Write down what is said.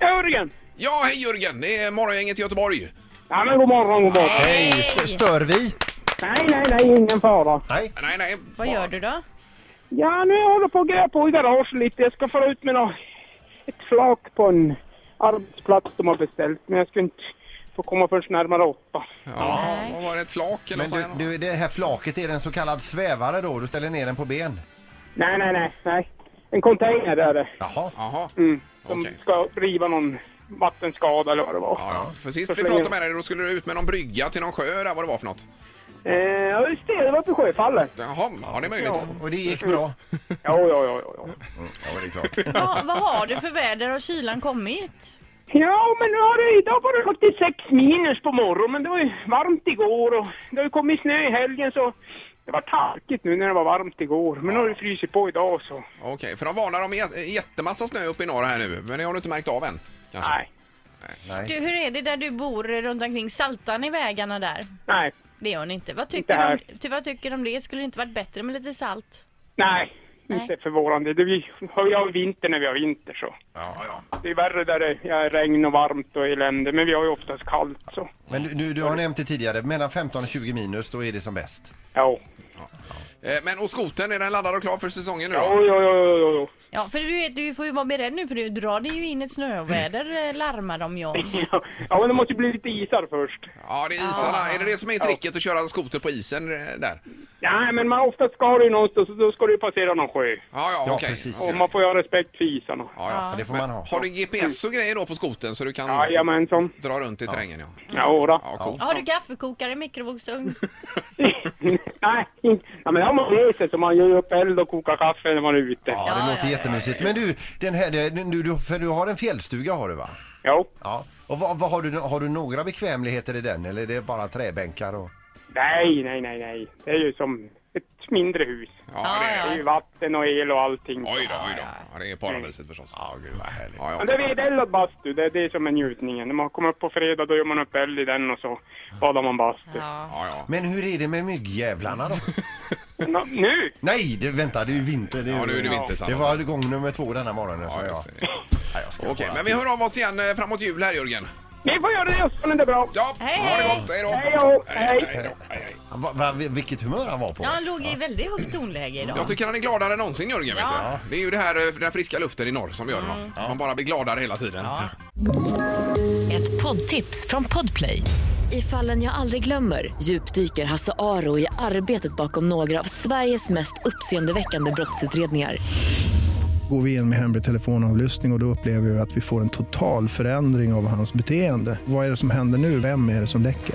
Jörgen! Ja, hej Jörgen! Det är Morgongänget i Göteborg. Ja men god morgon, god morgon. Hej! st- Stör vi? Nej, nej, nej, ingen fara. Nej. Nej, nej. Vad gör du då? Ja, nu håller jag på att gräva på i garaget lite. Jag ska föra ut med nå ett flak på en arbetsplats de har beställt. Men jag ska inte få komma förrän närmare åtta. Ja, vad var det? Ett flak eller Men nåt du, sånt? här? du, det här flaket är en så kallad svävare då? Du ställer ner den på ben? Nej, nej, nej, nej. En container där är det. Jaha. Jaha. Mm. De Okej. ska riva någon vattenskada eller vad det var. Ja, ja. För sist Så vi slänger pratade jag. med dig då skulle du ut med någon brygga till någon sjö där, vad det var för något. Eh, ja, just det. Det var uppe i Sjöfallet. Jaha, ja det är möjligt. Ja. Och det gick bra? Ja, ja, ja, ja, ja. Ja, det är klart. Vad, vad har du för väder? Har kylan kommit? Ja, men nu har det, idag var det 86 minus på morgonen, men det var ju varmt igår och det har ju kommit snö i helgen så det var tarkigt nu när det var varmt igår. Men nu har det frysit på idag så Okej, för de varnar om jä- jättemassa snö uppe i norr här nu, men det har du inte märkt av än? Kanske. nej, Du, Nej. hur är det där du bor runt omkring? Saltar ni vägarna där? nej, Det gör ni inte. Vad Inte tycker, du här. om, ty, vad tycker du om det? Skulle det inte varit bättre med lite salt? nej, Nej. inte för våran del. Det blir- Vi har ju vinter när vi har vinter så. Det är värre där det är regn och varmt och elände, men vi har ju oftast kallt så. Men du, du, du har nämnt det tidigare, mellan 15 och 20 minus, då är det som bäst. Ja, Eh, Men och skotern, är den laddad och klar för säsongen nu då? ja, ja, ja, ja, ja, ja. Ja, för du, vet, du får ju vara beredd nu för nu drar det ju in ett snöväder eh, larmar de ju om. Ja, Ja, men det måste ju bli lite isar först. Ja, det är isarna. Är det det som är tricket att köra skoter på isen eh, där? Nej, men man oftast ska du ju någonstans och då ska du ju passera någon sjö. Ja, ja, Ja, okej. precis. Ja, Och man får ju ha respekt för isarna. ja. Ja, det får Men man ha. Har du GPS och grejer då på skoten så du kan Jajamensan. dra runt i terrängen? Ja, Jodå. ja coolt. Har du kaffekokare, mikrovågsugn? Nej, inte- ja, men har man med sig så man gör ju upp eld och kokar kaffe när man är ute. Ja, Ja. det Ja, låter ja, ja, jättemysigt. Men du, den här, den- du, du, för du har en fjällstuga har du va? Jo. Ja. Och vad, vad har, du, har du några bekvämligheter i den eller är det bara träbänkar? Och... Nej, nej, nej, nej. Det är ju som ett mindre hus. Ja, det Det är... är ju vatten och el och allting. Oj då, oj då. Ja, det är paradiset förstås. Ja, gud vad härligt. Ja, Men ja. det är vedeldad bastu, det är det som är njutningen. När man kommer upp på fredag då gör man upp eld i den och så badar man bastu. Ja. Ja, ja. Men hur är det med myggjävlarna då? Nå, nu! Nej, det, vänta det är ju vinter. Det, Ja, nu är det vinter, sant. Det var gång nummer två denna morgonen. så Ja, jag, just det. Nej, jag ska Okej, bara- men vi hör av oss igen eh, framåt jul här Jörgen. Ni får göra det och så är det bra. Ja, Hej, ha det hej. gott. Hej då. Hej då! Hej! Hej då, hej, hej. Va, va, vilket humör han var på. Ja, han låg i väldigt högt tonläge idag. Jag tycker han är gladare än någonsin Jörgen. Vet Ja. Mm. du? Det är ju det här, eh, den här friska luften i norr som gör honom. Man bara blir gladare hela tiden. Ett poddtips från Podplay. I fallen jag aldrig glömmer djupdyker Hasse Aro i arbetet bakom några av Sveriges mest uppseendeväckande brottsutredningar. Går vi in med hemlig telefonavlyssning och, och då upplever vi att vi får en total förändring av hans beteende. Vad är det som händer nu? Vem är det som läcker?